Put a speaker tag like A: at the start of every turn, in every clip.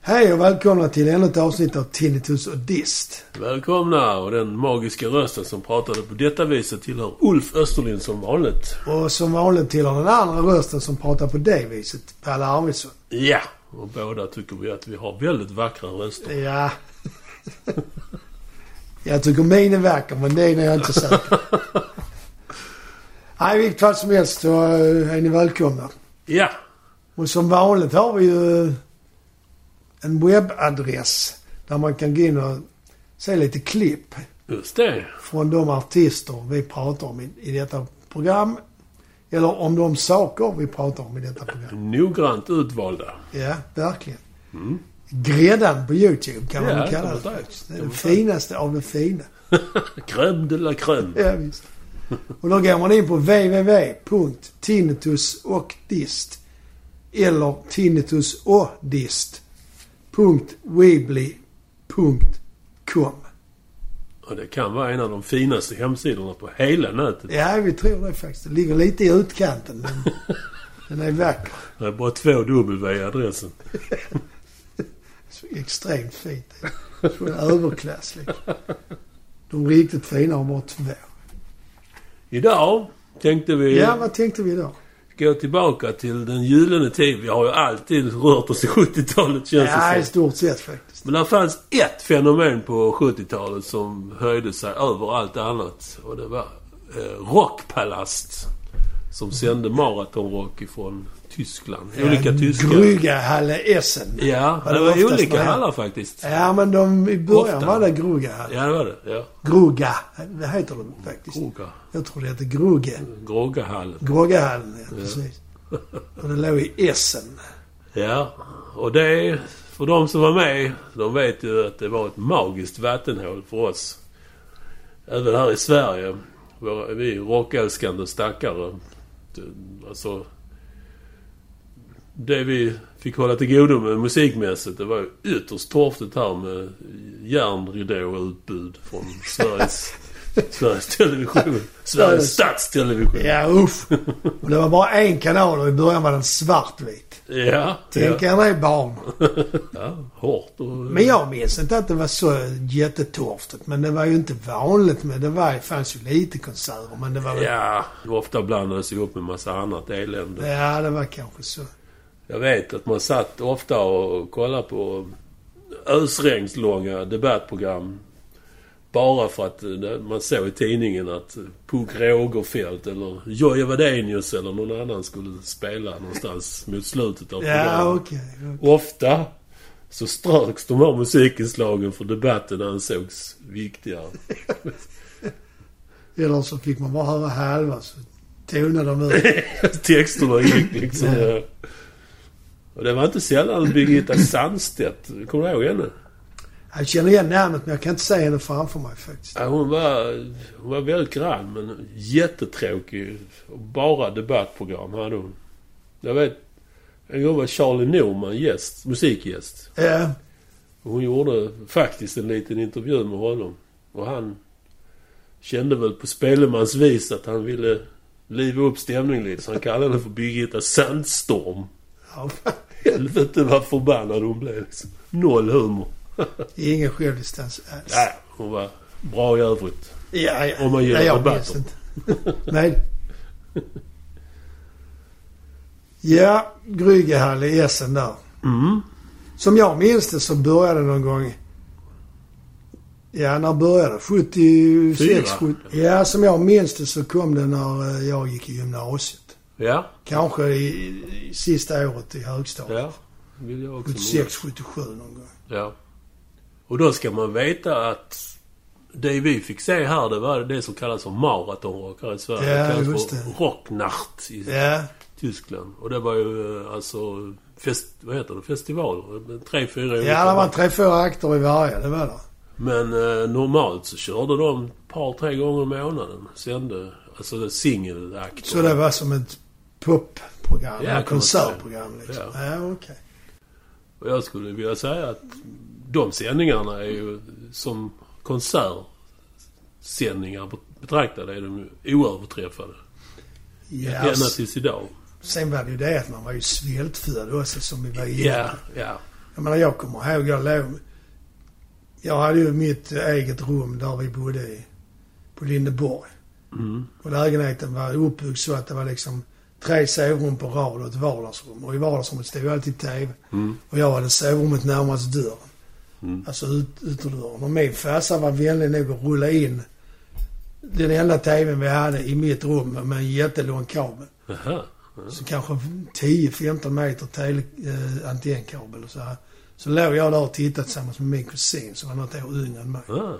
A: hej och välkomna till ännu ett avsnitt av Tinnitus och Dist.
B: Välkomna! Och den magiska rösten som pratade på detta viset tillhör Ulf Österlind som vanligt.
A: Och som vanligt tillhör den andra rösten som pratar på det viset, Pelle Arvidsson.
B: Ja! Och båda tycker vi att vi har väldigt vackra röster.
A: Ja. jag tycker min är vacker, men det är jag inte säker Nej, i vilket fall som helst så eh, är ni välkomna.
B: Ja!
A: Och som vanligt har vi ju en webbadress där man kan gå in och se lite klipp
B: Just det.
A: från de artister vi pratar om i, i detta program. Eller om de saker vi pratar om i detta program.
B: Noggrant utvalda.
A: Ja, verkligen. Gräddan på YouTube kan man
B: Ja,
A: väl
B: det
A: kalla Mm. det
B: var det.
A: faktiskt. Det är
B: Det
A: det
B: var det.
A: finaste av det fina.
B: Crème de la crème.
A: Ja, visst. Och då går man in på www.tinnitus och dist eller tinnitus och dist
B: Och det kan vara en av de finaste hemsidorna på hela nätet.
A: Ja, vi tror det faktiskt. Det ligger lite i utkanten, men den är vacker.
B: Det är bara två W i adressen.
A: Så extremt fint. Så en överklass liksom. De riktigt fina har bara två.
B: Idag tänkte vi
A: Ja, vad tänkte vi då?
B: gå tillbaka till den gyllene tid. Vi har ju alltid rört oss i 70-talet känns
A: Ja,
B: det
A: i
B: som.
A: stort sett faktiskt.
B: Men det fanns ett fenomen på 70-talet som höjde sig över allt annat. Och det var eh, Rockpalast. Som sände maratonrock ifrån Tyskland. Olika tyska...
A: Grüga Halle Essen.
B: Ja,
A: Var
B: det
A: det
B: var
A: oftast
B: olika
A: med?
B: hallar faktiskt.
A: Ja, men de, i början
B: Ofta.
A: var det Gruga Halle.
B: Ja, det var det. Ja. Oh.
A: Gruga, det heter de faktiskt.
B: Groga.
A: Jag tror det heter Gruge.
B: Grogahallen.
A: Groggehallen, ja, precis. Och det låg i Essen.
B: Ja, och det... För de som var med, de vet ju att det var ett magiskt vattenhål för oss. Även här i Sverige. Våra- Vi rockälskande stackare. Det- Alltså... Det vi fick hålla till godo med musikmässigt, det var ju ytterst torftigt här med järnridåutbud från Sveriges, Sveriges Television. Sveriges Statstelevision.
A: Ja, usch. Och det var bara en kanal och i början var den svartvit.
B: Ja,
A: Tänk er det barn.
B: ja, hårt och...
A: Men jag minns inte att det var så jättetorftigt. Men det var ju inte vanligt. Men det var, fanns ju lite konserter. Men det var väl...
B: Ja, det var ofta blandades ihop med massa annat elände.
A: Ja, det var kanske så.
B: Jag vet att man satt ofta och kollade på ösregnslånga debattprogram. Bara för att eh, det- man såg i tidningen att eh, Puk Rogefeldt eller Jojje Wadenius eller någon annan skulle spela någonstans mot slutet av
A: Ja,
B: programmet.
A: okej. okej.
B: Ofta så ströks de här musikinslagen för debatten ansågs viktigare.
A: Eller så fick man bara höra halva. Så tonade de ut.
B: texterna gick liksom. ja. Och det var inte sällan Birgitta Sandstedt. Kommer du ihåg henne?
A: Jag känner igen namnet men jag kan inte se henne framför mig faktiskt.
B: Ja, hon, var, hon var väldigt grann men jättetråkig. Och Bara debattprogram hade hon. Jag vet, en gång var Charlie Norman gäst, musikgäst.
A: Ja,
B: Och Hon gjorde faktiskt en liten intervju med honom. Och han kände väl på spelemans vis att han ville liva upp stämningen lite. Så han kallade henne för Birgitta Sandstorm.
A: ja.
B: Helvete vad förbannad hon blev. liksom. Noll humor.
A: Ingen självdistans alls.
B: Nej, hon var bra i övrigt.
A: Ja, ja.
B: Om man gillar
A: Nej, jag
B: rabatter.
A: minns inte. Nej. Ja, Grygehall i Essen där.
B: Mm.
A: Som jag minns det så började någon gång... Ja, när började det? 76?
B: Fyra.
A: 70, ja, som jag minns det så kom det när eh, jag gick i gymnasiet.
B: Ja,
A: Kanske i, i sista året i högstadiet.
B: ja. Vill jag också
A: 76, 77 någon gång.
B: Ja. Och då ska man veta att det vi fick se här det var det som kallas för maratonrock här i Sverige.
A: Ja,
B: kallas
A: just
B: för
A: det.
B: Rocknacht i
A: Ja,
B: Tyskland. Och det var ju eh, alltså fest, vad heter det? festivaler. Tre, fyra
A: ja det var tre, fyra akter i varje. Det var det.
B: Men eh, normalt så körde de ett par, tre gånger i månaden. Sände, alltså singelakter.
A: Så det var som ett popprogram,
B: Ja,
A: eller
B: kan man säga.
A: konsertprogram liksom. Ja, okej.
B: Och jag skulle vilja säga att de sändningarna är ju som konsertsändningar betraktade är de ju oöverträffade.
A: Ja,
B: Ända tills idag.
A: sen var det ju det att man var ju svältfödd också som vi var inne på.
B: Ja, ja.
A: Jag menar, jag kommer ihåg, jag låg... Jag hade ju mitt eget rum där vi bodde i, på Lindeborg.
B: Mm.
A: Och lägenheten var uppbyggd så att det var liksom tre sovrum på rad och ett vardagsrum. Och i vardagsrummet stod ju alltid TV.
B: Mm.
A: Och jag hade sovrummet närmast dörren.
B: Mm.
A: Alltså ut, ytterdörren. Och min farsa var vänlig nog att rulla in den enda TVn vi hade i mitt rum med en jättelång kabel.
B: Aha.
A: Så kanske 10-15 meter tele, eh, antennkabel och så här. Så låg jag där och tittade tillsammans med min kusin som var något år yngre än mig.
B: Ah,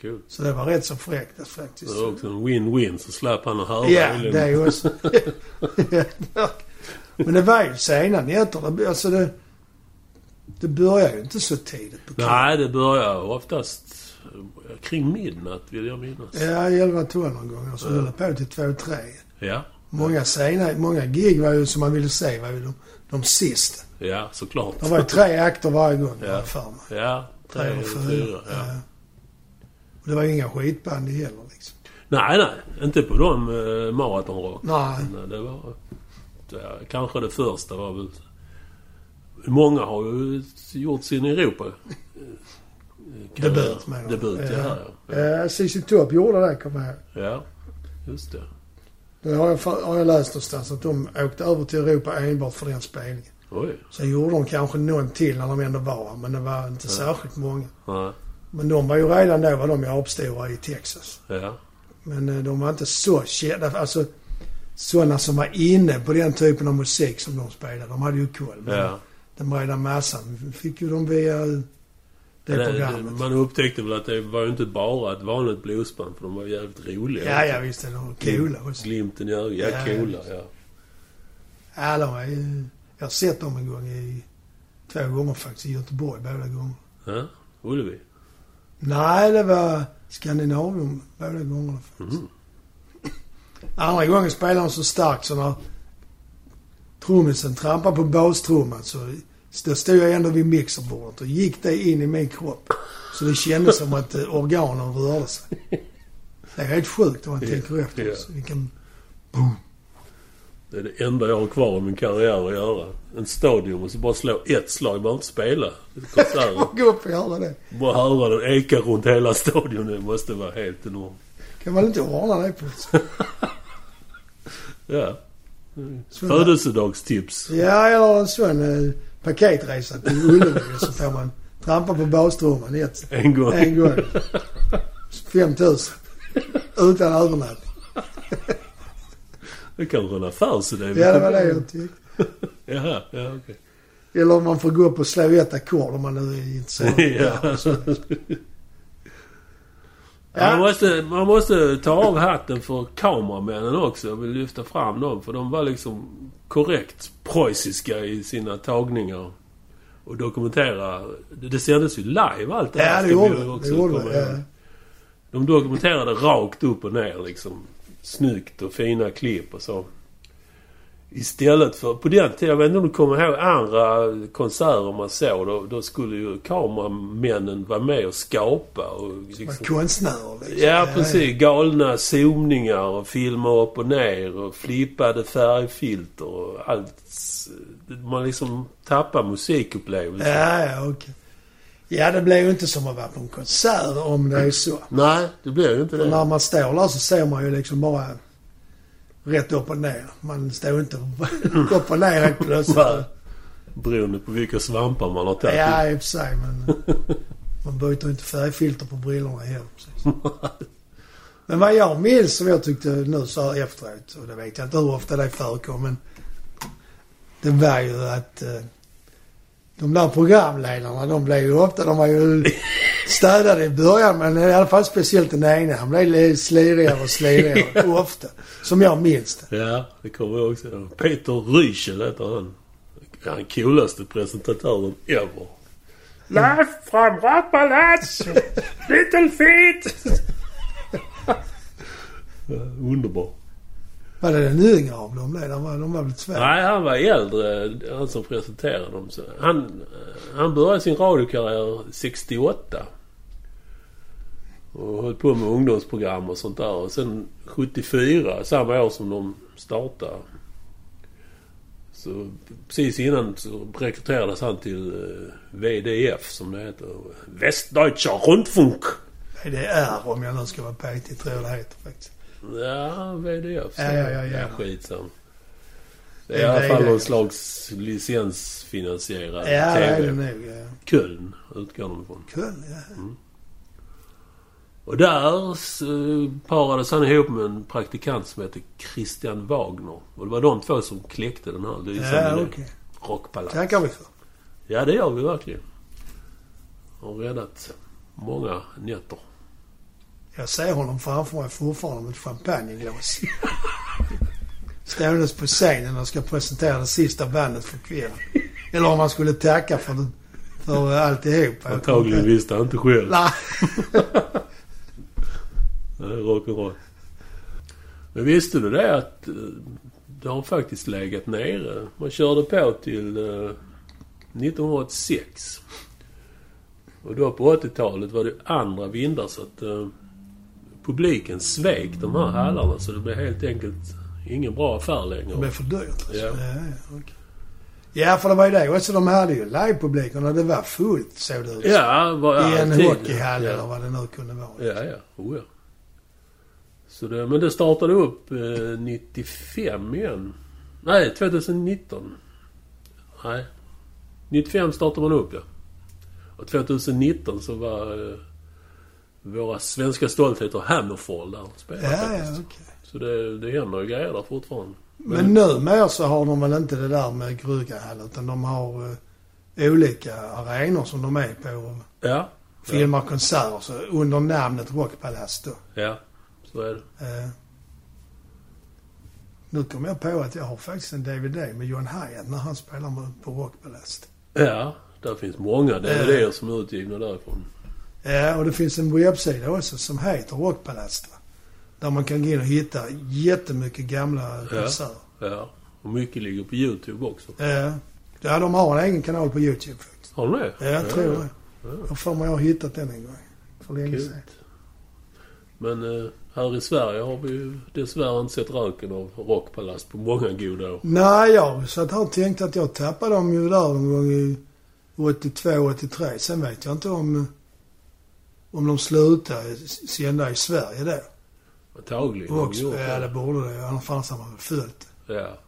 B: kul.
A: Så det var rätt så fräckt alltså, faktiskt.
B: Det var också en win-win, så slapp han att höra.
A: Ja,
B: Eller-
A: det är ju också... Men det var ju sena nätter. Det- Alltså det... Det börjar ju inte så tidigt på kvällen.
B: Nej, det börjar oftast eh, kring midnatt, vill jag minnas.
A: Ja, 11-12 någon gång. Och så höll det på till 2-3.
B: Ja,
A: Många sena, många gig var ju som man ville se var ju de, de sista.
B: ja såklart.
A: Det var ju tre akter varje gång, har
B: Ja.
A: jag för mig.
B: Ja, tre eller fyra. Ja.
A: Och det var ju inga skitband det heller liksom.
B: Nej, nej. Inte på de eh, maratonrock.
A: Nej.
B: Men, eh, Det var... Ja, kanske det första var väl... Många har ju gjort sin Europa... eh, karriär.
A: Debut, menar du?
B: Debut, ja.
A: Ja.
B: Ja,
A: Eh, ZZ Top gjorde det, kommer jag ihåg.
B: ja. just det.
A: Det har jag, fa- har jag läst någonstans att de åkte över till Europa enbart för den spelningen.
B: Oj.
A: Sen gjorde de kanske någon till när de ändå var här, men det var inte särskilt många.
B: Ja,
A: Men de var ju redan då var de ju apstora i Texas.
B: ja.
A: Men eh, de var inte så kända. Alltså sådana som var inne på den typen av musik som de spelade. De hade ju koll. Men
B: ja.
A: Den breda massan fick ju de via det
B: eh,
A: programmet.
B: man upptäckte väl att det var ju inte bara ett vanligt bluesband, för de var jävligt roliga.
A: ja, ja visst. De var coola
B: Mm.
A: också.
B: Glimten i ögat. Ja,
A: Ja,
B: coola, ja.
A: Ja, de var ju... Jag har sett dem en gång i... Två gånger faktiskt. I Göteborg båda gånger.
B: ja. Ullevi.
A: Nej, det var Skandinavien båda gångerna faktiskt.
B: Mhm.
A: Andra gången spelade de så starkt så när trummisen trampade på bastrumman så då stod jag ändå vid mixerbordet och gick det in i min kropp. Så det kändes som att eh, organen rörde sig. Det är helt sjukt om man
B: Ja,
A: tänker efter.
B: ja.
A: Så vilken,
B: Det är det enda jag har kvar i min karriär att göra. En stadion och så bara slå ett slag. Jag behöver inte spela konserten.
A: gå upp och göra det.
B: Bara höra den eka runt hela stadion. Det måste vara helt enormt.
A: Kan man inte ordna det på något sätt?
B: Ja.
A: Sån-
B: Födelsedagstips.
A: Ja, eller en sån eh, paketresa till Ullevi så får man trampa på bastrumman ett,
B: En gång.
A: en gång. 5000 Utan övernattning.
B: Det kanske är en affärsidé.
A: Ja, det var det jag tyckte.
B: Jaha, ja okej.
A: Eller om man får gå upp och slå ett ackord om man nu är intresserad.
B: Ja. Man, måste, man måste ta av hatten för kameramännen också. Jag vill lyfta fram dem. För de var liksom korrekt preussiska i sina tagningar. Och dokumentera. Det, det sändes ju live allt det
A: Ja,
B: här.
A: det
B: ska vi
A: gjorde
B: ju
A: det. Det
B: också
A: gjorde
B: komma
A: det.
B: ihåg.
A: ja.
B: De dokumenterade rakt upp och ner liksom. Snyggt och fina klipp och så. Istället för... På den tiden, jag vet inte om du kommer ihåg andra konserter man såg. Då, då skulle ju kameramännen vara med och skapa och
A: Man
B: liksom,
A: konstnärer liksom.
B: Ja, precis. Galna zoomningar och filmer upp och ner och flippade färgfilter och allt. Man liksom tappar musikupplevelsen.
A: Ja, ja, okej. Ja, det blir ju inte som att vara på en konsert om det är så.
B: Nej, det blir ju inte
A: För när
B: det.
A: man står där så ser man ju liksom bara rätt upp och ner. Man står inte upp och ner helt plötsligt.
B: Nej. Beroende på vilka svampar man har tagit.
A: Ja, i och för sig. Men eh, man byter inte färgfilter på brillorna heller. precis. Men vad jag minns som jag tyckte nu så här efteråt, och det vet jag inte hur ofta det förekom, men det var ju att eh, de där programledarna, de blev ju ofta, de var ju städade i början, men i alla fall speciellt den ena, han blev li- slirigare och slirigare, ofta. Som jag minns det.
B: Ja, det kommer jag också ihåg. Peter Rüchel heter han. Han coolaste presentatören ever. Live from Rappalazzo! Little feet! Ja, Underbar.
A: Var det den yngre av dem det? De var, de var väl två?
B: Nej, han var äldre, han som presenterade dem. Så han, han började sin radiokarriär 68. Och höll på med ungdomsprogram och sånt där. Och sen 74, samma år som de startade, Så precis innan så rekryterades han till eh, VDF som det heter. Westdeutscher Rundfunk.
A: Nej, det är om jag nu ska vara petig tror jag det heter faktiskt.
B: Ja, VDF. så-
A: Ja, ja, ja, ja.
B: skitsam. Det
A: Det
B: är i
A: är
B: alla fall
A: VDF.
B: någon slags licensfinansierad
A: Ja, det är det
B: TV.
A: nog. Ja.
B: Köln utgår de ifrån.
A: Kul, ja.
B: Och där eh, parades han ihop med en praktikant som hette Christian Wagner. Och det var de två som kläckte den här
A: Ja,
B: lysande
A: okej.
B: okay. rockpalats.
A: Tackar vi för.
B: Ja, det gör vi verkligen. Har räddat många nätter.
A: Jag ser honom framför mig fortfarande med ett champagneglas. Ståendes på scenen och ska presentera det sista bandet för kvällen. Eller om han skulle tacka för, det, för alltihop. Jag
B: Antagligen
A: kommer inte-
B: visste han inte själv.
A: Nej.
B: Det är Rock'n'roll. Men visste du det att eh, det har faktiskt legat nere? Man körde på till eh, 1986. Och då på 80-talet var det andra vindar så att eh, publiken svek de här hallarna så det blev helt enkelt ingen bra affär
A: Det blev
B: längre.
A: för dyrt alltså.
B: Ja.
A: Ja. Ja, okej. ja, för det var ju det. Och så de hade ju livepubliken och det var fullt såg det ut.
B: Ja, var
A: I en
B: alltid.
A: hockeyhall
B: Ja.
A: eller vad det nu kunde vara.
B: Ja, ja. Oh, ja. Så det, men det startade upp eh, 95 igen. Nej, 2019. Nej. 95 startade man upp, ja. Och 2019 så var eh, våra svenska stoltheter Hammerfall där och spelade
A: Ja, ja,
B: faktiskt.
A: okej.
B: Så det, det händer ju grejer där fortfarande.
A: Men numera så har de väl inte det där med Grugahall utan de har eh, olika arenor som de är på.
B: Ja,
A: filmar konserter så under namnet Rockpalats då.
B: ja. Så är det.
A: Eh, nu kom jag på att jag har faktiskt en DVD med John Hyatt när han spelar med, på Rockpalast.
B: Ja, där finns många DVDer som är utgivna därifrån.
A: Ja, Eh, och det finns en webbsida också som heter Rockpalast. va? Där man kan gå in och hitta jättemycket gamla
B: Ja.
A: konserter.
B: Ja. Och mycket ligger på YouTube också.
A: Ja. ja, de har en egen kanal på YouTube faktiskt.
B: Har du det?
A: Ja, jag tror det.
B: Ja.
A: Jag får mig jag har hittat den en gång. För länge
B: Kul.
A: sedan.
B: Men eh, här i Sverige har vi ju dessvärre inte sett röken av Rockpalast på många goda år.
A: Nej, jag satt här och tänkte att jag tappade dem ju där någon gång i 82, 83. Sen vet jag inte om, eh, om de slutade sända i Sverige då.
B: Antagligen. har vi
A: Också,
B: gjort
A: ja, det borde det. Annars hade man väl följt det.
B: ja.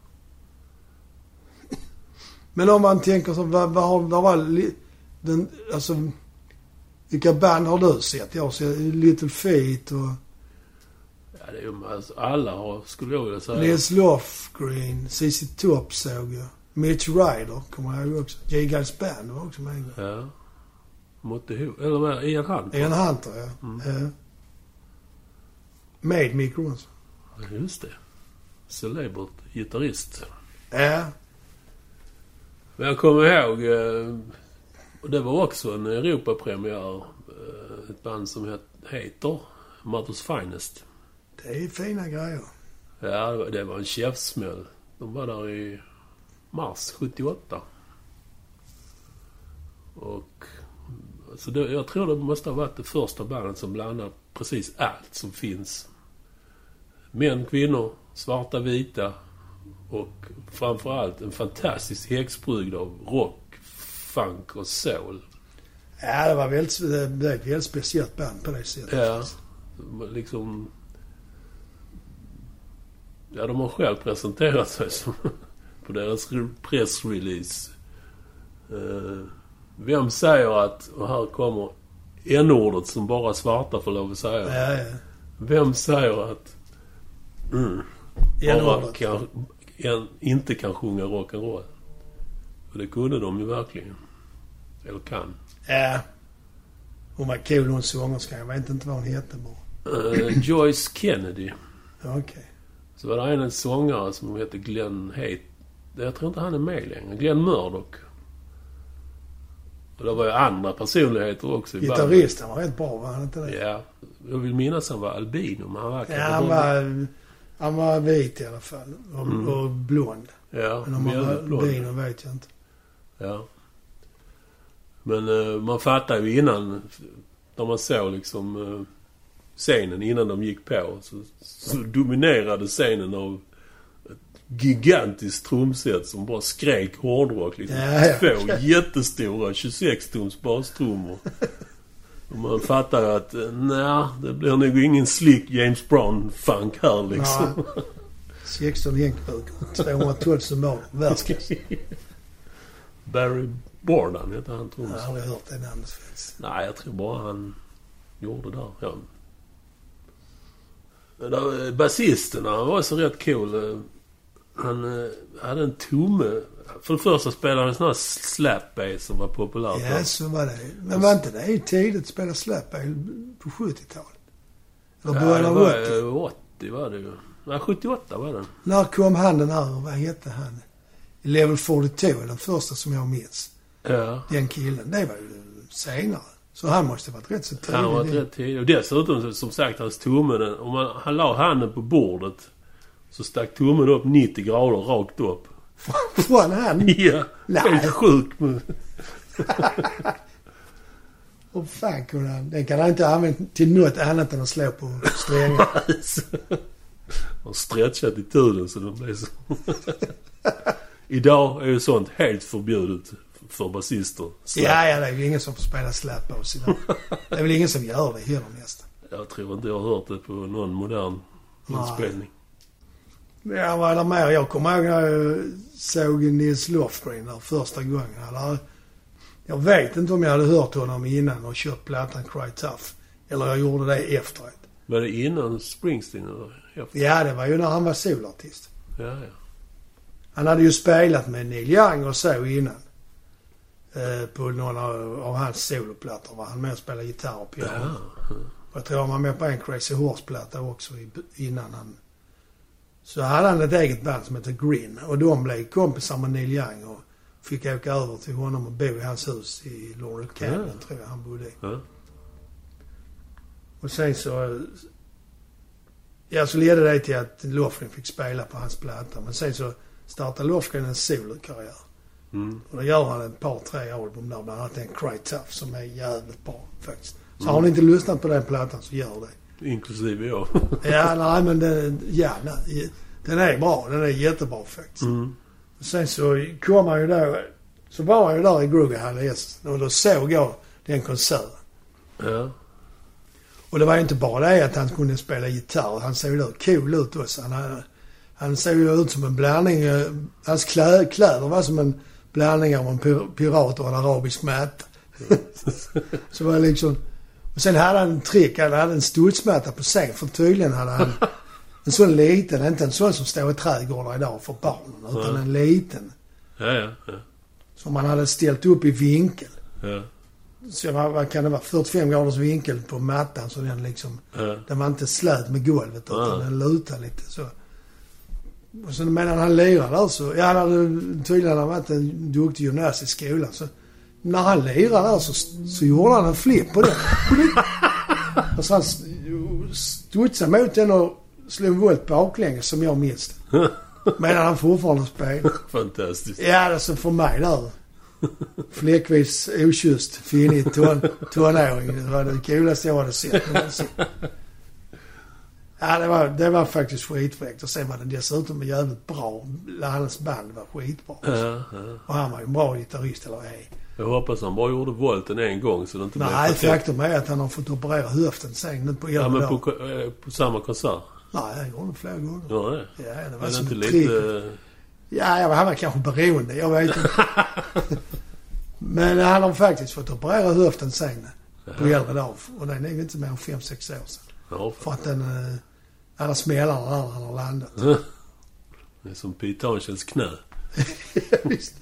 A: Men om man tänker så, vad, vad har vad var li- den, alltså, vilka band har du sett? Jag har sett Little Feet och
B: ja, det är ju alltså, alla har, skulle jag vilja säga.
A: Nils Lofgren, ZZ Top såg jag. Mitch Ryder kommer jag ihåg också. J-Guys Band var också med en gång.
B: Ja. Motte Ho- eller vad, Ian Hunt.
A: Ian Hunter, ja.
B: Mm.
A: Eh, Med Mick Ronson.
B: Ja, Just det. Celebert gitarrist.
A: Ja.
B: Men jag kommer ihåg, eh, och det var också en Europapremiär, eh, ett band som het- heter Mothers Finest.
A: Det är fina grejer.
B: Ja, det var- det var en käftsmäll. De var där i mars 78. Och... Alltså det, jag tror det måste ha varit det första bandet som blandade precis allt som finns. Män, kvinnor, svarta, vita och framförallt en fantastisk häxbrygd av rock, funk och soul.
A: Ja, det var väldigt, det det är ett väldigt speciellt band på det sättet.
B: Ja, liksom... Ja, de har själv presenterat sig som på deras re- pressrelease. Eh, vem säger att, och här kommer n-ordet som bara svarta får lov att säga.
A: Ja, ja.
B: Vem säger att mm, bara
A: Genområdet.
B: kan, en, inte kan sjunga rock'n'roll? Och det kunde de ju verkligen. Eller kan.
A: Ja. Hon var cool hon sångerskan. Jag vet inte vad hon hette bara.
B: Eh, Joyce Kennedy.
A: Ja, Okej.
B: Så var det en sångare som hette Glenn Hate. Jag tror inte han är med längre. Glenn Murdoch. Och det var ju andra personligheter också i bandet.
A: Gitarristen var rätt bra, var han inte det?
B: Ja. Jag vill minnas han var albino, men han var
A: Ja, han var, han var vit i alla fall. Och,
B: Mm.
A: och blond.
B: Ja,
A: Men om han var
B: mjölblond.
A: albino vet jag inte.
B: Ja. Men eh, man fattar ju innan, när man såg liksom eh, scenen innan de gick på, så, så dominerade scenen av ett gigantiskt trumset som bara skrek hårdrock. Liksom.
A: Ja, ja.
B: Två jättestora 26-tums bastrummor. Och man fattar ju att eh, nej, det blir nog ingen slick James Brown-funk här liksom.
A: Nej. 16 jänkböcker, 212 symboler. Världsklass.
B: Barry Bordan hette han
A: Jag har
B: trummisen.
A: aldrig hört det namnet faktiskt.
B: Nej, jag tror bara han gjorde där. Ja. Men där, eh, Basisten, han var så rätt cool. eh, Han eh, hade en tumme. För det första spelade han en sån här slap bass som var populärt då.
A: Ja, så var det Men var inte det tidigt att spela slapbail på 70-talet? Eller
B: Ja,
A: början
B: det
A: av
B: var
A: 80?
B: eh, 80 var det ju. Nej, 78 var det.
A: När kom han den här, vad hette han? Level 42 är den första som jag minns.
B: Ja.
A: Den killen, det var ju senare. Så han måste ha varit rätt så tidig.
B: Han var rätt tidig. Och dessutom, så- som sagt, hans tumme... Den, om man, han la handen på bordet så stack tummen upp 90 grader rakt upp.
A: Från han?
B: Ja,
A: Nej.
B: helt sjukt. men-
A: Hur fan kunde han? Den kan han inte ha använt till något annat än att slå på strängar.
B: De har stretchat i tuden så de blev så... Idag är ju sånt helt förbjudet för basister. Slap.
A: ja, ja, det är ju ingen som får spela slapbass idag. Det är väl ingen som gör det heller nästan.
B: Jag tror inte jag har hört det på någon modern
A: Nej.
B: inspelning.
A: Ja, vad är det mer? Jag kommer ihåg när jag såg Nils Lofgren där första gången. Eller, jag vet inte om jag hade hört honom innan och köpt plattan Cry Tough. Eller jag gjorde det efteråt.
B: Var det innan Springsteen eller efter?
A: Ja, det var ju när han var solartist.
B: Ja, ja.
A: Han hade ju spelat med Neil Young och så innan. Eh, på någon av, av hans soloplattor var han med och spelade gitarr och piano.
B: ja.
A: Och jag tror han var med på en Crazy Horse-platta också i, innan han... Så hade han ett eget band som hette Green och de blev kompisar med Neil Young och fick åka över till honom och bo i hans hus i Laurel Canyon,
B: Ja.
A: tror jag han bodde i.
B: Ja.
A: Och sen så... Ja, så ledde det till att Lofgren fick spela på hans platta. Men sen så startade Lofgren en solokarriär.
B: Mm.
A: Och då gör han ett par, tre album där, bland annat en Cry Tough som är jävligt bra faktiskt. Så har ni inte lyssnat på den plattan så gör det.
B: Inklusive jag.
A: Ja, nej men den, ja, nej, den är bra. Den är jättebra faktiskt.
B: Mm.
A: Sen så kom han ju där. Så var han ju där i Grugahall i Essen och då såg jag den konserten.
B: Ja.
A: Och det var ju inte bara det att han kunde spela gitarr. Han såg ju då cool ut också. Han, hade- han såg ju ut som en blandning. eh, Hans klä, kläder var som en blandning av en pir- pirat och en arabisk matta. så var det liksom... Och sen hade han en trick. Han hade en studsmatta på scen. För tydligen hade han en sån liten. Inte en sån som står i trädgårdar idag för barnen. Utan
B: Nej.
A: en liten.
B: Ja, ja, ja.
A: Som han hade ställt upp i vinkel.
B: ja.
A: Så vad, vad kan det vara? 45 graders vinkel på mattan. Så den liksom...
B: ja.
A: Den var inte slät med golvet utan
B: Nej.
A: den lutade lite så. Och sen medan han lirade där så, ja han hade tydligen hade varit en duktig gymnast i skolan så. När han lirade där så, så gjorde han en flipp på den. och så han s- studsade mot den och slog en volt baklänges som jag minns det. Medan han fortfarande spelade.
B: Fantastiskt.
A: Ja, alltså för mig där. Fläckvis okysst, finnig ton, tonåring. Det var det coolaste jag hade sett någonsin. Ja, det var, det var faktiskt skitfräckt. Och sen var den dessutom jävligt bra. Hans band var skitbra.
B: Ja, ja.
A: Och han var ju en bra gitarrist, eller är.
B: Jag hoppas han bara gjorde volten en gång så det inte
A: Nej,
B: blev perfekt.
A: faktum är att han har fått operera höften sen nu på
B: Ja,
A: äldre
B: men på,
A: dagar.
B: ko- eh, på samma konsert.
A: Nej, han gjorde det flera gånger.
B: Ja, det.
A: Ja, det var
B: Är det
A: som
B: inte
A: ett trick.
B: lite...
A: Ja, ja, men han var kanske beroende. Jag vet inte. Men han har faktiskt fått operera höften sen på äldre dag. Och det är nog inte mer än 5-6 år sedan.
B: Ja,
A: För att den... eh, Alla smällarna där han har landat.
B: Det är som Pythonchens knä.
A: Visst.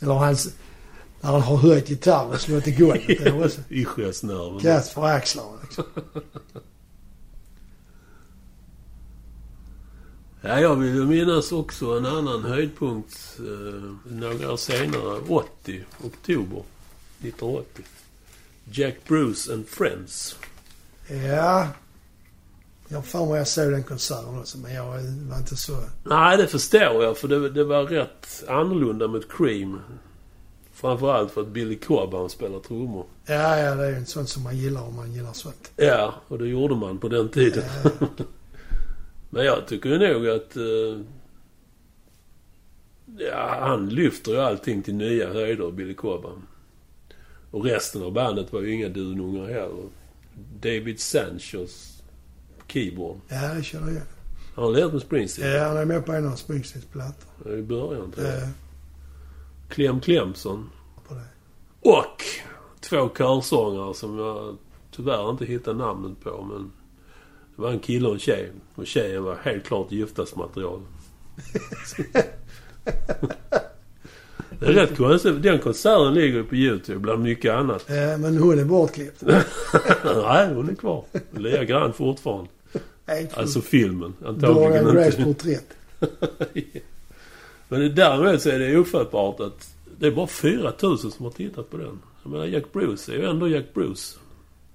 A: Eller hans... När han har höjt gitarren och slagit i golvet. Det är också
B: I sjösnören.
A: kast för axlarna liksom.
B: Ja, jag vill ju minnas också en annan höjdpunkt eh, några år senare. 80, oktober 1980. Jack Bruce and Friends.
A: Ja. Jag har för mig jag såg den konserten också men jag var inte så...
B: Nej, det förstår jag för det, det var rätt annorlunda mot Cream. Framförallt för att Billy Cobb han spelar trummor.
A: Ja, ja, det är ju sånt som man gillar om man gillar sånt.
B: Ja, och det gjorde man på den tiden.
A: Ja,
B: Men jag tycker nog att eh, Ja, han lyfter ju allting till nya höjder, Billy Cobham. Och resten av bandet var ju inga dunungar heller. David Sanchez keyboard.
A: Ja, det känner jag igen.
B: Han har lärt med Springsteen.
A: Ja, han är med på en av Springsteens plattor.
B: Ja. I början, tror jag.
A: Ja,
B: Clem Clemson.
A: på det.
B: Och två körsångare som jag tyvärr inte hittar namnet på, men... Det var en kille och en tjej. Och tjejen var helt klart giftasmaterial. det är rätt konstigt. Den konserten ligger ju på YouTube bland mycket annat.
A: Ja, Eh, men hon är bortklippt.
B: Nej, hon är kvar. Lirar grann fortfarande.
A: Helt
B: Alltså filmen. Antagligen
A: Dorian Grays
B: inte.
A: porträtt.
B: Men däremot så är det ofattbart att det är bara 4000 som har tittat på den. Jag menar, Jack Bruce är ju ändå Jack Bruce.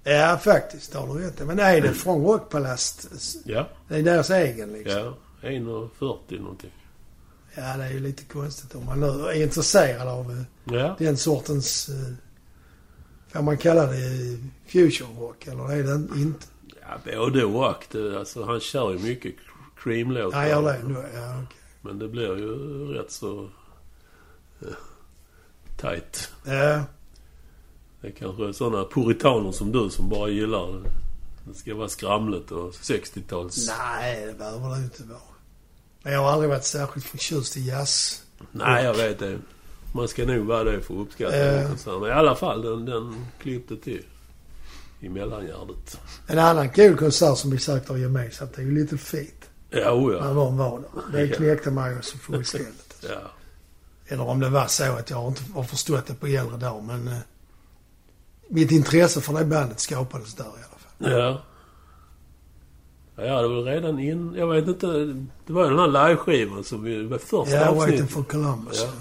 A: Ja, faktiskt. Det har du rätt i. Men nej, det är från Rockpalast.
B: Ja,
A: Det är deras egen liksom.
B: ja. 1,40 någonting.
A: Ja, det är ju lite konstigt om man nu är intresserad av eh,
B: Ja,
A: den sortens... eh, Får man kalla det future rock eller är det inte?
B: ja både och. Det, alltså, han kör ju mycket creamlåtar.
A: Nej, jag gör det ändå. Ja, okej.
B: Men det blir ju rätt så... eh, tight.
A: Ja,
B: Det är kanske är sådana puritaner som du som bara gillar det. Det ska vara skramligt och 60-tals...
A: nej, det behöver det inte vara. Men jag har aldrig varit särskilt förtjust i jazz.
B: Nej, jag vet det. Man ska nog vara det för att uppskatta
A: Ja.
B: den konserten. Men i alla fall, den, den klippte till. I mellangärdet.
A: En annan kul konsert som vi säkert har gemensamt, det är ju Little Feet.
B: Ja, oh
A: När
B: ja.
A: de var där. Det
B: Ja.
A: knäckte mig ju så fullständigt.
B: ja.
A: Eller om det var så att jag inte har förstått det på äldre dag, men... Eh, mitt intresse för det bandet skapades där i alla fall.
B: Ja. Ja, jag hade väl redan in... Jag vet inte. Det var ju den här liveskivan som vi... Det var första
A: Ja, Waiting
B: avsnittet
A: for Columbus.
B: Ja.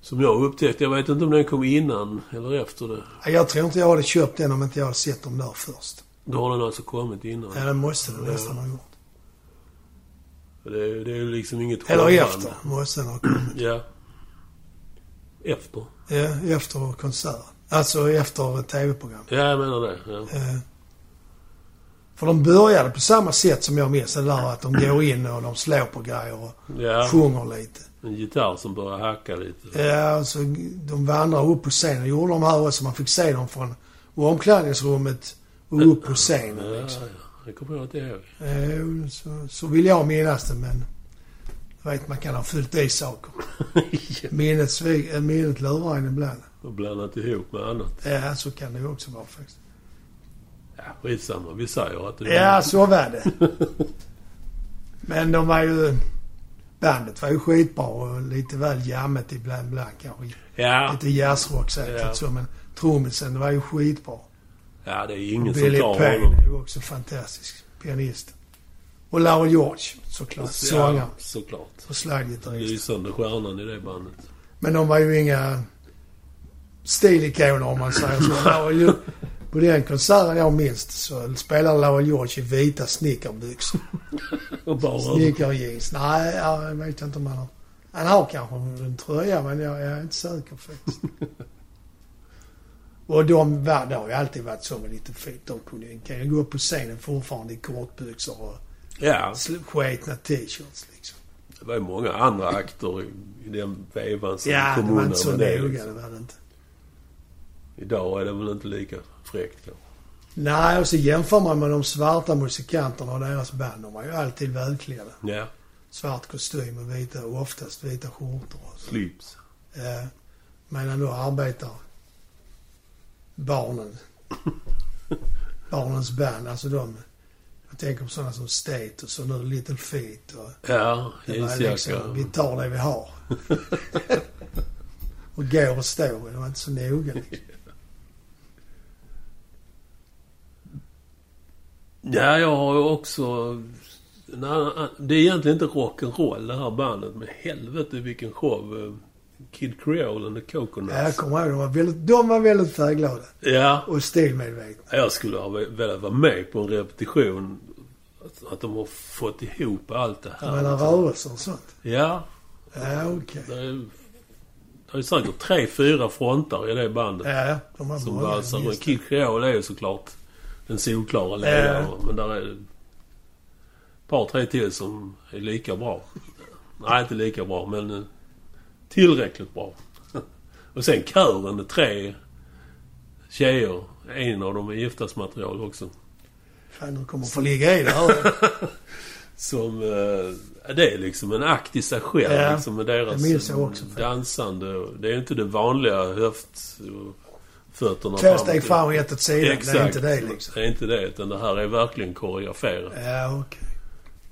B: som jag upptäckte. Jag vet inte om den kom innan eller efter det.
A: Ja. Jag tror inte jag hade köpt den om inte jag hade sett dem där först.
B: Då har den alltså kommit innan.
A: Ja, det måste den nästan ha gjort.
B: Det, är- det är ju liksom inget
A: Eller
B: självband.
A: efter. Måste den ha kommit.
B: Ja. Efter.
A: Ja, efter konserten. Alltså efter tv-programmet.
B: Ja, jag menar det. Ja.
A: Eh, För de började på samma sätt som jag minns det där att de går in och de slår på grejer och
B: ja.
A: sjunger lite.
B: En gitarr som börjar hacka lite.
A: Ja, alltså, de vandrar upp på scenen. Det gjorde de här också. Man fick se dem från omklädningsrummet och upp på scenen.
B: Ja,
A: Liksom.
B: ja. Det kommer jag inte ihåg.
A: Eh, Så, så vill jag minnas det, men... Jag vet, man kan ha fyllt i saker. Minnet, svig, eh, minnet lurar en ibland.
B: Och blandat ihop med annat.
A: Ja, så kan det ju också vara faktiskt.
B: Ja, skitsamma. Vi säger att det var-
A: Ja, så var det. Men de var ju... Bandet var ju skitbra och lite väl jammet ibland, ibland kanske.
B: ja.
A: Lite jazzrock säkert
B: Ja.
A: så, men trummisen var ju skitbra.
B: ja, det är ingen som
A: Billy
B: tar
A: Payne
B: honom.
A: är ju också fantastisk pianist. Och Larry George såklart, sångaren
B: Alltså, Ja, såklart.
A: och slaggitarrist.
B: Lysande stjärnan i det bandet.
A: Men de var ju inga stilikoner om man säger så. Larry George- På den konserten jag minns så spelade Larry George i vita snickarbyxor.
B: Och bara...
A: Snickarjeans. Nej, ja, jag vet inte om han har... Han har kanske en tröja, men jag, jag är inte säker faktiskt. Och de var, det har ju alltid varit så med lite fint. De kunde, ju- kan ju gå upp på scenen fortfarande i kortbyxor och
B: Ja,
A: sl- sketna t-shirts liksom.
B: det var ju många andra akter i i den vevan som
A: Ja,
B: kom
A: det var
B: undan
A: inte så
B: med det,
A: noga, det
B: liksom.
A: var det inte.
B: Idag är det väl inte lika fräckt kanske.
A: Nej, och så jämför man med de svarta musikanterna och deras band. De var ju alltid välklädda.
B: Ja,
A: Svart kostym och vita, och oftast vita skjortor. och så.
B: slips.
A: Eh, medan då arbetar barnen. Barnens band, alltså de. Jag tänker på sådana som Status och nu Little Feet. Och
B: Ja,
A: det var liksom, vi
B: jeansjacka.
A: tar det vi har. och går och står, det var inte så noga. Liksom.
B: Ja, jag har ju också... en annan- Det är egentligen inte rock'n'roll det här bandet, men helvete vilken show. eh, Kid Creole and the
A: Ja, jag
B: Coconuts.
A: kommer ihåg, de var väldigt, de var väldigt färgglada
B: Ja,
A: och stilmedvetna.
B: jag skulle ha velat vara med på en repetition. Att- Att de har fått ihop allt det
A: Ja,
B: här.
A: mellan rörelser och sånt.
B: Ja,
A: Ja, okej.
B: det är, det är säkert tre, fyra fronter i det bandet.
A: Ja, de var
B: Som
A: många,
B: valsar runt.
A: just det.
B: Kid Creole är ju såklart den solklara
A: Eh.
B: ledaren. Men där är ett par, tre till som är lika bra. Nej, inte lika bra, men eh, tillräckligt bra. Och sen kören, det är tre tjejer. En av dem är giftasmaterial också.
A: Fan, du kommer få ligga i det här.
B: Som... Eh, det är liksom en akt i sig själv.
A: Ja,
B: liksom, med deras
A: det minns jag också.
B: dansande. och- Det är inte det vanliga höft... och Fötterna
A: Två
B: framåt.
A: steg fram och ett åt sidan.
B: Exakt.
A: Det är inte det liksom.
B: Det är inte det, utan det här är verkligen koreograferat.
A: Ja, okej.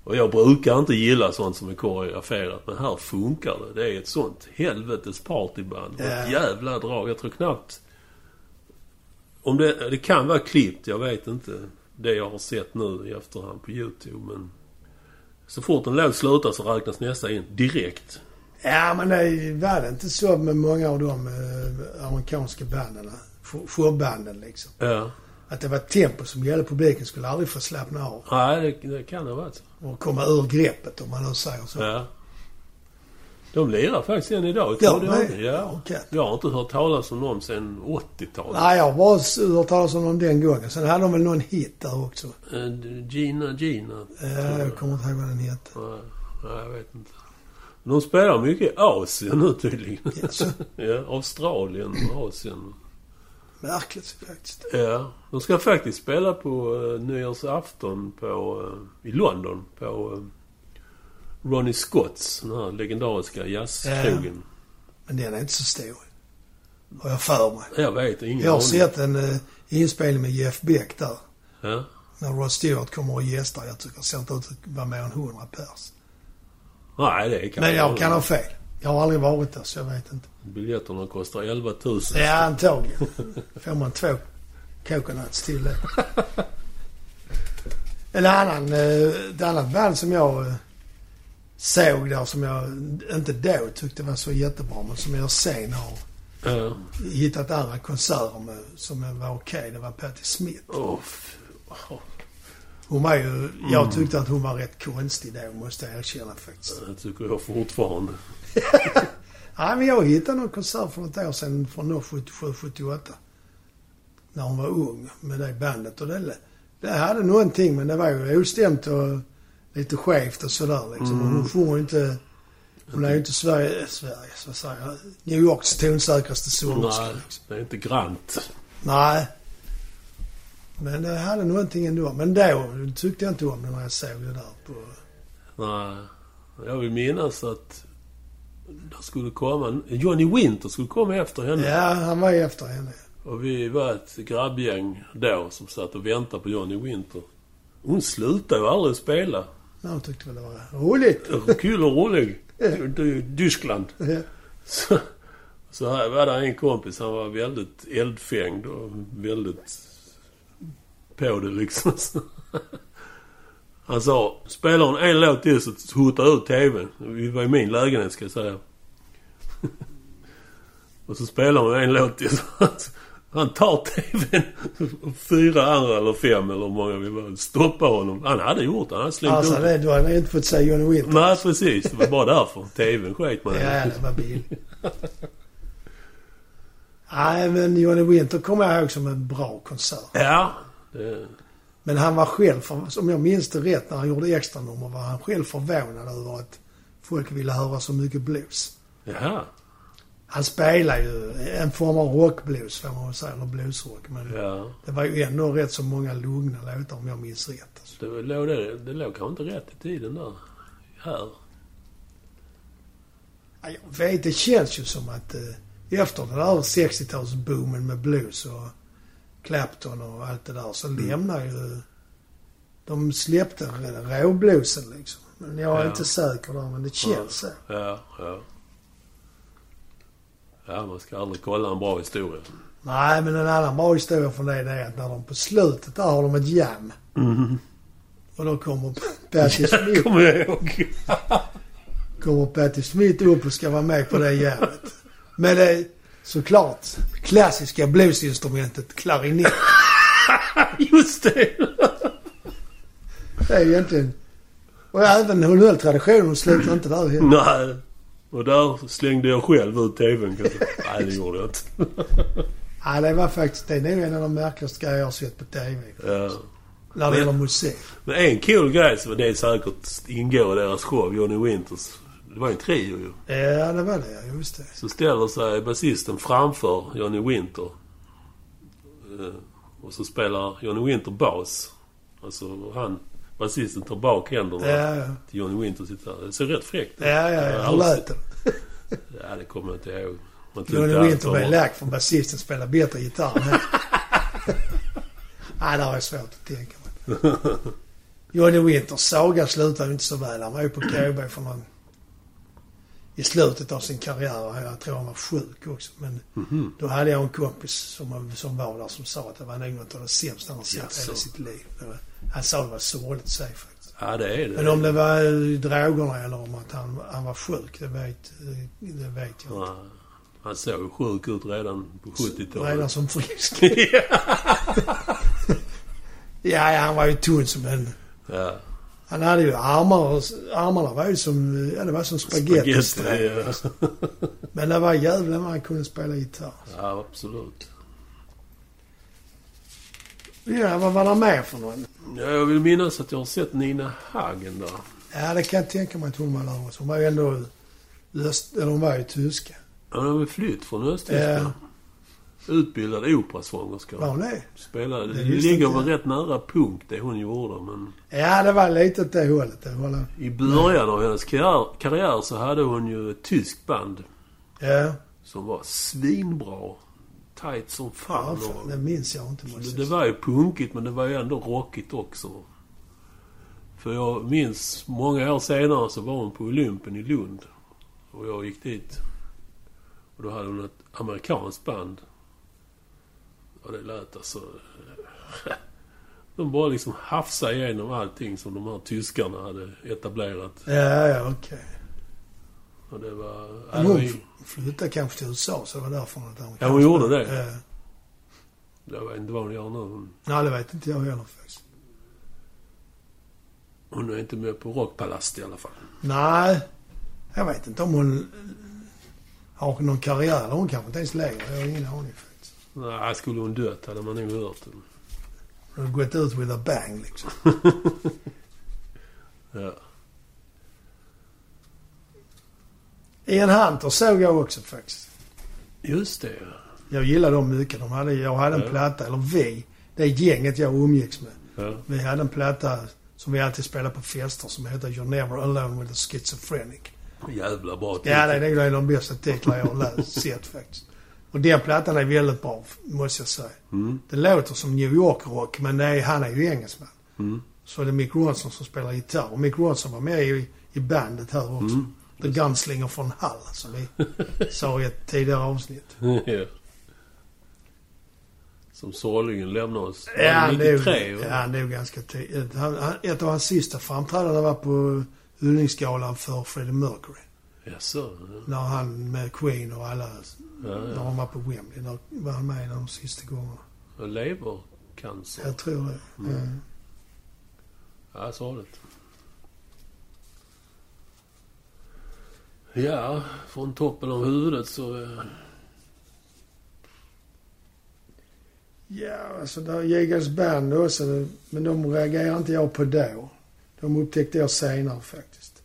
B: Och jag brukar inte gilla sånt som är koreograferat, men här funkar det. Det är ett sånt helvetes partyband. Och Ett
A: Ja.
B: jävla drag. Jag tror knappt... Om det, det kan vara klippt, jag vet inte. Det jag har sett nu i efterhand på YouTube, men... Så fort en låt slutar så räknas nästa in direkt.
A: Ja, men det var det inte så med många av de eh, amerikanska banden. eh, Showbanden liksom.
B: Ja.
A: Att det var tempo som gällde. Publiken skulle aldrig få slappna av
B: Nej, det, det kan det vara så.
A: och komma ur greppet om man nu säger så.
B: Ja. De lirar faktiskt än idag.
A: Ja,
B: Tror jag.
A: nej.
B: ja.
A: Okej.
B: Jag har inte hört talas om dem sedan 80-talet.
A: Nej, jag har bara hört talas om dem den gången. Sen hade de väl någon hit där också.
B: Eh, Gina Gina.
A: Eh, jag kommer inte ihåg vad den hette.
B: Nej, nej, jag vet inte. De spelar mycket i Asien nu tydligen.
A: Jaså?
B: ja, Australien och Asien.
A: Märkligt faktiskt.
B: Ja, de ska faktiskt spela på uh, nyårsafton på, eh, i London på eh, Ronnie Scotts, den här legendariska jazzkrogen.
A: Men den är inte så stor. Har jag för mig.
B: Jag vet ingen
A: Jag har
B: aning.
A: sett en eh, inspelning med Jeff Beck där.
B: Ja.
A: När Rod Stewart kommer och gästar. Jag tycker det ser inte ut att vara mer än 100 pers.
B: Nej, det kan
A: Men jag
B: vara.
A: kan ha fel. Jag har aldrig varit där så jag vet inte.
B: Biljetterna kostar 11 000.
A: Ja, antagligen. Får man två coconuts till det. En annan, eh, ett annat band som jag eh, såg där som jag inte då tyckte var så jättebra men som jag sen har
B: Ja.
A: hittat andra konserter med som var okej. Det var Patti Smith.
B: Åh, f- åh,
A: Hon var ju... Jag tyckte att hon var rätt konstig då måste jag erkänna faktiskt.
B: det tycker jag fortfarande.
A: Nej men jag hittade någon konsert för något år sedan från då 77, 78. När hon var ung med det bandet och det, det hade någonting men det var ju ostämt och lite skevt och sådär liksom. Och Hon sjunger ju inte... Hon är ju inte Sverige, Sverige, så säger jag, New Yorks tonsäkraste sångerska
B: Nej,
A: liksom.
B: det är inte grant.
A: Nej. Men det hade någonting ändå. Men då tyckte jag inte om det när jag såg det där på...
B: Nej. Jag vill minnas att det skulle komma... Johnny Winter skulle komma efter henne.
A: Ja, han var ju efter henne.
B: Och vi var ett grabbgäng då som satt och väntade på Johnny Winter. Hon slutade ju aldrig spela.
A: Men Hon tyckte väl det var roligt.
B: Kul och rolig. Det är ju Tyskland.
A: Ja.
B: Så, så här var det en kompis, han var väldigt eldfängd och väldigt på det liksom. Så Han sa, spelar hon en låt till så hotar jag ut TVn. Vi var i min lägenhet ska jag säga. Och så spelar hon en låt till. så Han tar TVn. och Fyra andra eller fem eller hur många vi var. Stoppa honom. Han hade gjort det. Han hade slängt
A: Alltså
B: ut
A: det, du hade inte fått säga Johnny Winter.
B: Nej precis. Det var bara därför. TVn sket man i.
A: Ja, det var bil. Nej, men Johnny Winter kommer jag ihåg som en bra konsert.
B: Ja. Det,
A: Men han var själv, för, om jag minns det rätt, när han gjorde extra nummer var han själv förvånad över att folk ville höra så mycket blues.
B: Jaha.
A: Han spelar ju en form av rockblues får man väl säga, eller bluesrock. Men
B: Ja.
A: det var ju ändå rätt så många lugna låtar om jag minns rätt. Alltså.
B: Det låg, det, det låg kanske inte rätt i tiden där. Här.
A: Ja, Jag vet, det känns ju som att eh, efter den där 60-talsboomen med blues och Clapton och allt det där så
B: Mm.
A: lämnar ju... De släppte råbluesen liksom. Men jag är
B: Ja.
A: inte säker där, men det känns så.
B: Ja, ja. Ja, man ska aldrig kolla en bra historia.
A: Nej, men en annan bra historia från det, det är att när de på slutet där har de ett jam.
B: Mm-hmm.
A: Och då kommer Patti Smith
B: Kommer jag ihåg.
A: kommer Patti Smith upp och ska vara med på det jävlet. Med det såklart klassiska bluesinstrumentet klarinett.
B: Just det!
A: Det är ju egentligen... Och även hon höll traditionen, hon slutade inte där heller.
B: Nej. Och där slängde jag själv ut TVn kanske. Nej, det gjorde jag inte.
A: Ja, det var faktiskt... Det är nog en av de märkligaste grejer jag har sett på TV.
B: Ja.
A: När det gäller musik.
B: Men en cool grej som det är säkert ingår i deras show, Johnny Winters. Det var en trio ju.
A: Ja, det var det. ja, Just det.
B: Så ställer sig basisten framför Johnny Winter. Eh, Och så spelar Johnny Winter bas. Alltså han, basisten tar bak händerna
A: Ja, ja.
B: till Johnny Winter. Sitter. Det ser rätt fräckt ut. Alltså,
A: Ja, ja, alltså- ja. Han lät den.
B: Ja, det kommer jag inte ihåg. Man tyckte
A: Johnny
B: han
A: Winter
B: var-
A: blev lack från basisten spelar bättre gitarr än han. Nej, det har jag svårt att tänka mig. Johnny Winters saga slutade ju inte så väl. Han var ju på KB för någon... I slutet av sin karriär. Jag tror han var sjuk också. Men då hade jag en kompis som, som var där som sa att det var nog något av det sämsta han sett
B: Jaså.
A: hela sitt liv. Det var, han sa det var sorgligt i sig faktiskt.
B: Ja, det är det.
A: Men om det var eh, drogerna eller om att han, han var sjuk, det vet, det vet jag inte.
B: Ja, han såg ju sjuk ut redan på 70-talet.
A: Redan som frisk. ja, ja, han var ju tunn som en...
B: Ja.
A: Han hade ju armar och... Armarna var ju som... Ja, det var som spagettistråk.
B: ja.
A: Men det var jävlar vad han kunde spela gitarr.
B: ja, absolut.
A: Ja, vad var det mer för någon?
B: Ja, jag vill minnas att jag har sett Nina Hagen där.
A: Ja, det kan jag tänka mig att hon var där också. Hon var ju ändå... Öst, eller hon var ju tyska.
B: Hon har väl flytt från Östtyskland. Utbildad operasångerska.
A: Var hon det?
B: Spelade. Det,
A: Det visste
B: ligger
A: inte
B: väl
A: jag.
B: rätt nära punk det hon gjorde. Men
A: Ja, det var lite åt det hållet. Det var det.
B: i början av hennes karriär, karriär så hade hon ju ett tyskt band
A: Ja,
B: som var svinbra. Tight som
A: ja
B: fan.
A: fan,
B: och-
A: det minns jag inte.
B: Så
A: måste
B: Det,
A: jag
B: det
A: säga.
B: var ju punkigt men det var ju ändå rockigt också. För jag minns många år senare så var hon på Olympen i Lund. Och jag gick dit. Och då hade hon ett amerikanskt band. Och det lät alltså... De bara liksom hafsade igenom allting som de här tyskarna hade etablerat.
A: Ja, ja, okej.
B: Och det var... äh,
A: Men
B: det var
A: hon
B: ju-
A: f- flyttade kanske till USA, så det var därför hon inte hade
B: Ja, hon gjorde det.
A: Ja.
B: Jag vet inte vad hon gör nu. Hon-
A: Nej, det vet inte jag heller faktiskt.
B: Hon är inte med på Rockpalast i alla fall.
A: Nej, jag vet inte om hon har någon karriär. Eller hon kanske inte ens lever. Jag har ingen aning faktiskt.
B: Nej, skulle hon dött hade man nog hört det.
A: Hon har gått ut with a bang liksom.
B: Ja.
A: Ian Hunter såg jag också faktiskt.
B: Just det, ja.
A: Jag gillade dem mycket. De hade, jag hade
B: Ja.
A: en platta, eller vi, det gänget jag umgicks med.
B: ja.
A: Vi hade en platta som vi alltid spelade på fester som heter You're Never Alone with a Schizophrenic.
B: Jävla bra
A: Ja, det är nog en av de bästa titlar jag har läst, sett faktiskt. Och den plattan är väldigt bra, måste jag säga.
B: Mm.
A: Det låter som New York-rock, men det är, han är ju engelsman.
B: Mm.
A: Så det är Mick Ronson som spelar gitarr. Och Mick Ronson var med i, i bandet här också.
B: Mm.
A: The Gunslinger från Hall, som vi sa i ett tidigare avsnitt.
B: Ja. Som sorgligen lämnar oss.
A: Ja, han dog,
B: 93, va?
A: ja, han dog ganska tidigt. Han- han- Ett av hans sista framträdanden var på Hyllningsgalan för Freddie Mercury.
B: Jaså? ja.
A: När han med Queen och alla,
B: Ja,
A: när
B: ja.
A: han var på Wembley, när var han med en av de sista gångerna.
B: Och Levercancer.
A: Jag tror det.
B: Mm.
A: Mm.
B: Ja, sorgligt. Ja, från toppen av huvudet så... eh,
A: Ja, alltså där Jägers band också, men de reagerade inte jag på då. De upptäckte jag senare faktiskt.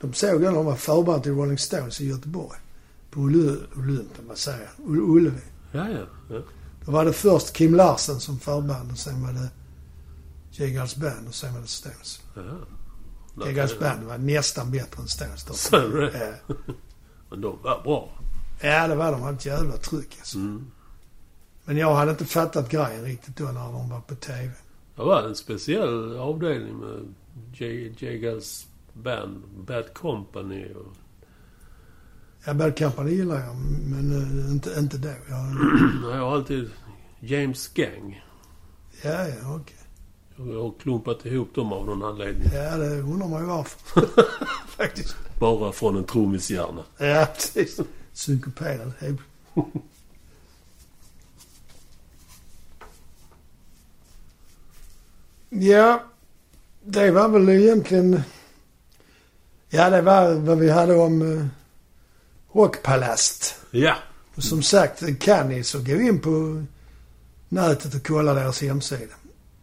A: De såg jag när de var förband till Rolling Stones i Göteborg. På Oly- Olympen, vad säger jag? U- Ullevi.
B: Ja, ja. ja.
A: Då var det först Kim Larsen som förband och sen var det Jägers band och sen var det Stones.
B: ja.
A: Jägers band var nästan bättre än Stones. då.
B: Så är det.
A: Ja.
B: Men de var bra.
A: Ja, det var de. De hade ett jävla tryck alltså.
B: Mm.
A: Men jag hade inte fattat grejen riktigt då när de var på TV.
B: Det var en speciell avdelning med J- Jagals band, Bad Company och...
A: Ja, Bad Company gillar jag, men eh, inte, inte då. Jag,
B: Jag har alltid James Gang.
A: ja, ja, okej.
B: Jag har klumpat ihop dem av någon anledning.
A: Ja, det undrar man ju varför. Faktiskt.
B: Bara från en trummishjärna.
A: Ja, precis. Synkoperad. helt. Ja, det var väl egentligen... Ja, det var vad vi hade om eh, Rockpalast.
B: Ja!
A: Och som sagt, kan ni så gå in på nätet och kolla deras hemsida.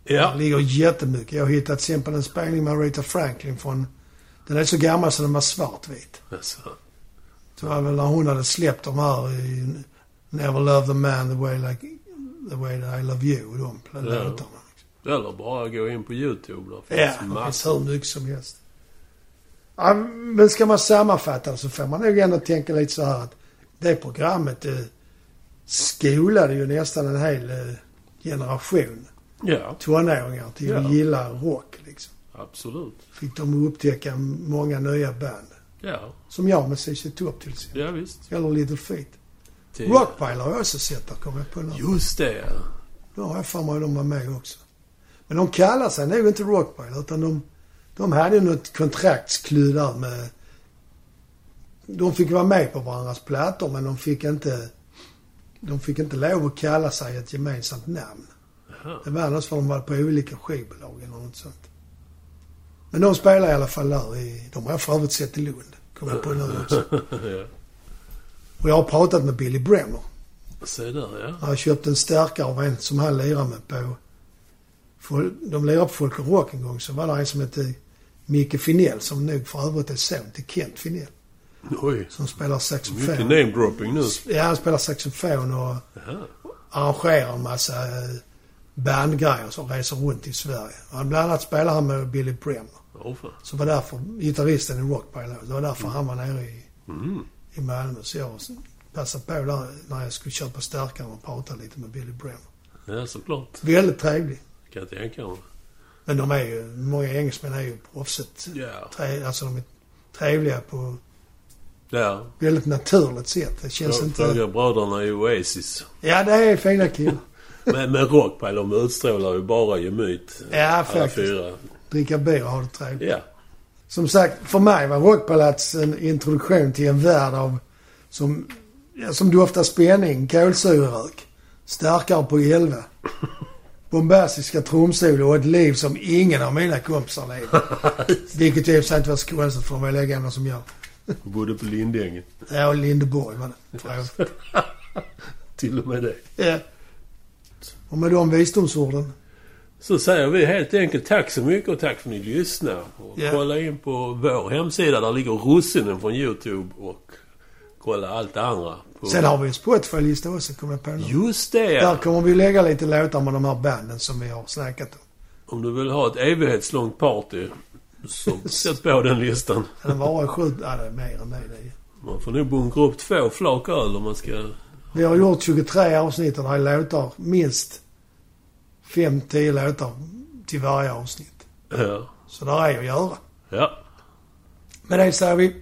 A: Det
B: Ja!
A: ligger jättemycket. Jag har hittat till exempel en spelning med Aretha Franklin från Den är så gammal så den var svartvit.
B: Alltså.
A: Det var väl när hon hade släppt de här i Never Love the Man the way, like, the way that I love you. De liksom.
B: Ja.
A: låtarna.
B: Eller bara gå in på YouTube. Där
A: Ja,
B: finns
A: det finns
B: massor.
A: hur mycket som helst. Ja, men ska man sammanfatta det så får man nog ändå tänka lite så här att det programmet det skolade ju nästan en hel eh, generation
B: Ja,
A: tonåringar till
B: Ja.
A: att gilla rock. Liksom.
B: absolut.
A: Fick de upptäcka många nya band.
B: Ja,
A: Som jag med CC Top till exempel.
B: ja visst.
A: Eller Little Feet.
B: Det-
A: Rockpile har jag också sett där, kommer jag på nu.
B: Just det, ja.
A: Ja, har jag för mig de var med också. Men de kallar sig nog inte Rockpile utan de, de hade något kontraktsklud där med... De fick vara med på varandras plattor men de fick inte... De fick inte lov att kalla sig ett gemensamt namn.
B: Jaha.
A: Det var annars för de var på olika skivbolag eller något sånt. Men de spelar i alla fall där i... De har jag för övrigt sett i Lund. Kommer jag på nu också.
B: ja.
A: Och jag har pratat med Billy Bremner.
B: Se där, ja.
A: Han köpte en stärkare av en som han lirade med på... Fol- De lirade på Folk och Rock en gång. Så var det en som hette Micke Finell som nog för övrigt är son till Kent Finell.
B: Oj.
A: Som spelar
B: Mycket
A: saxofon.
B: namedropping nu.
A: Ja, han spelar saxofon och
B: Jaha.
A: arrangerar en massa eh, bandgrejer som reser runt i Sverige. Och han- bland annat spelar han med Billy Bremner.
B: Åh fan.
A: Så var därför gitarristen i Rockpile. Det var därför han var nere i,
B: Mm.
A: i Malmö. Så jag passade på där när jag skulle köpa stärkaren och prata lite med Billy Bremner.
B: Ja, såklart.
A: Väldigt trevlig.
B: Kan jag tänka mig.
A: Men de är ju, många engelsmän är ju proffsigt.
B: Ja.
A: Tre, alltså de är trevliga på
B: Ja.
A: väldigt naturligt sätt. Det känns
B: Frå-
A: inte...
B: Fråga bröderna i Oasis.
A: Ja, det är fina killar.
B: Men, men Rockpile, de utstrålar ju bara gemyt.
A: Ja,
B: Alla
A: faktiskt.
B: fyra.
A: Dricka bier och ha det trevligt.
B: Ja.
A: Som sagt, för mig var Rockpalats en introduktion till en värld av som, ja, som doftar spänning, kolsyrerök, starkare på 11, bombastiska trumsolo och ett liv som ingen av mina kompisar lever. Vilket i och för sig inte var så konstigt för de var lika gamla som jag.
B: Bodde på Lindängen.
A: Ja, och Lindeborg var det. för övrigt.
B: Till och med det.
A: Ja. Eh, Och med de visdomsorden.
B: Så säger vi helt enkelt tack så mycket och tack för att ni lyssnar. Och
A: Ja.
B: Kolla in på vår hemsida. Där ligger russinen från YouTube. Och kolla allt det andra. På...
A: Sen har vi en Spotify-lista också, kommer jag på nu.
B: Just det ja.
A: Där kommer vi lägga lite låtar med de här banden som vi har snackat om.
B: Om du vill ha ett evighetslångt party. Så sätt på den listan.
A: Den varar sju... Ja, det är mer än det. det är.
B: Man får nog bunkra upp två flak öl om man ska...
A: Vi har gjort 23 avsnitt och det är låtar, minst 5-10 låtar till varje avsnitt.
B: Ja.
A: Så där är att göra.
B: ja.
A: Med det säger vi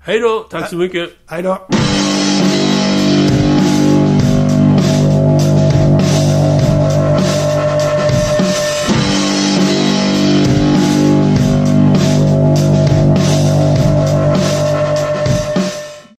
B: Hej då! Tack så mycket!
A: hej då.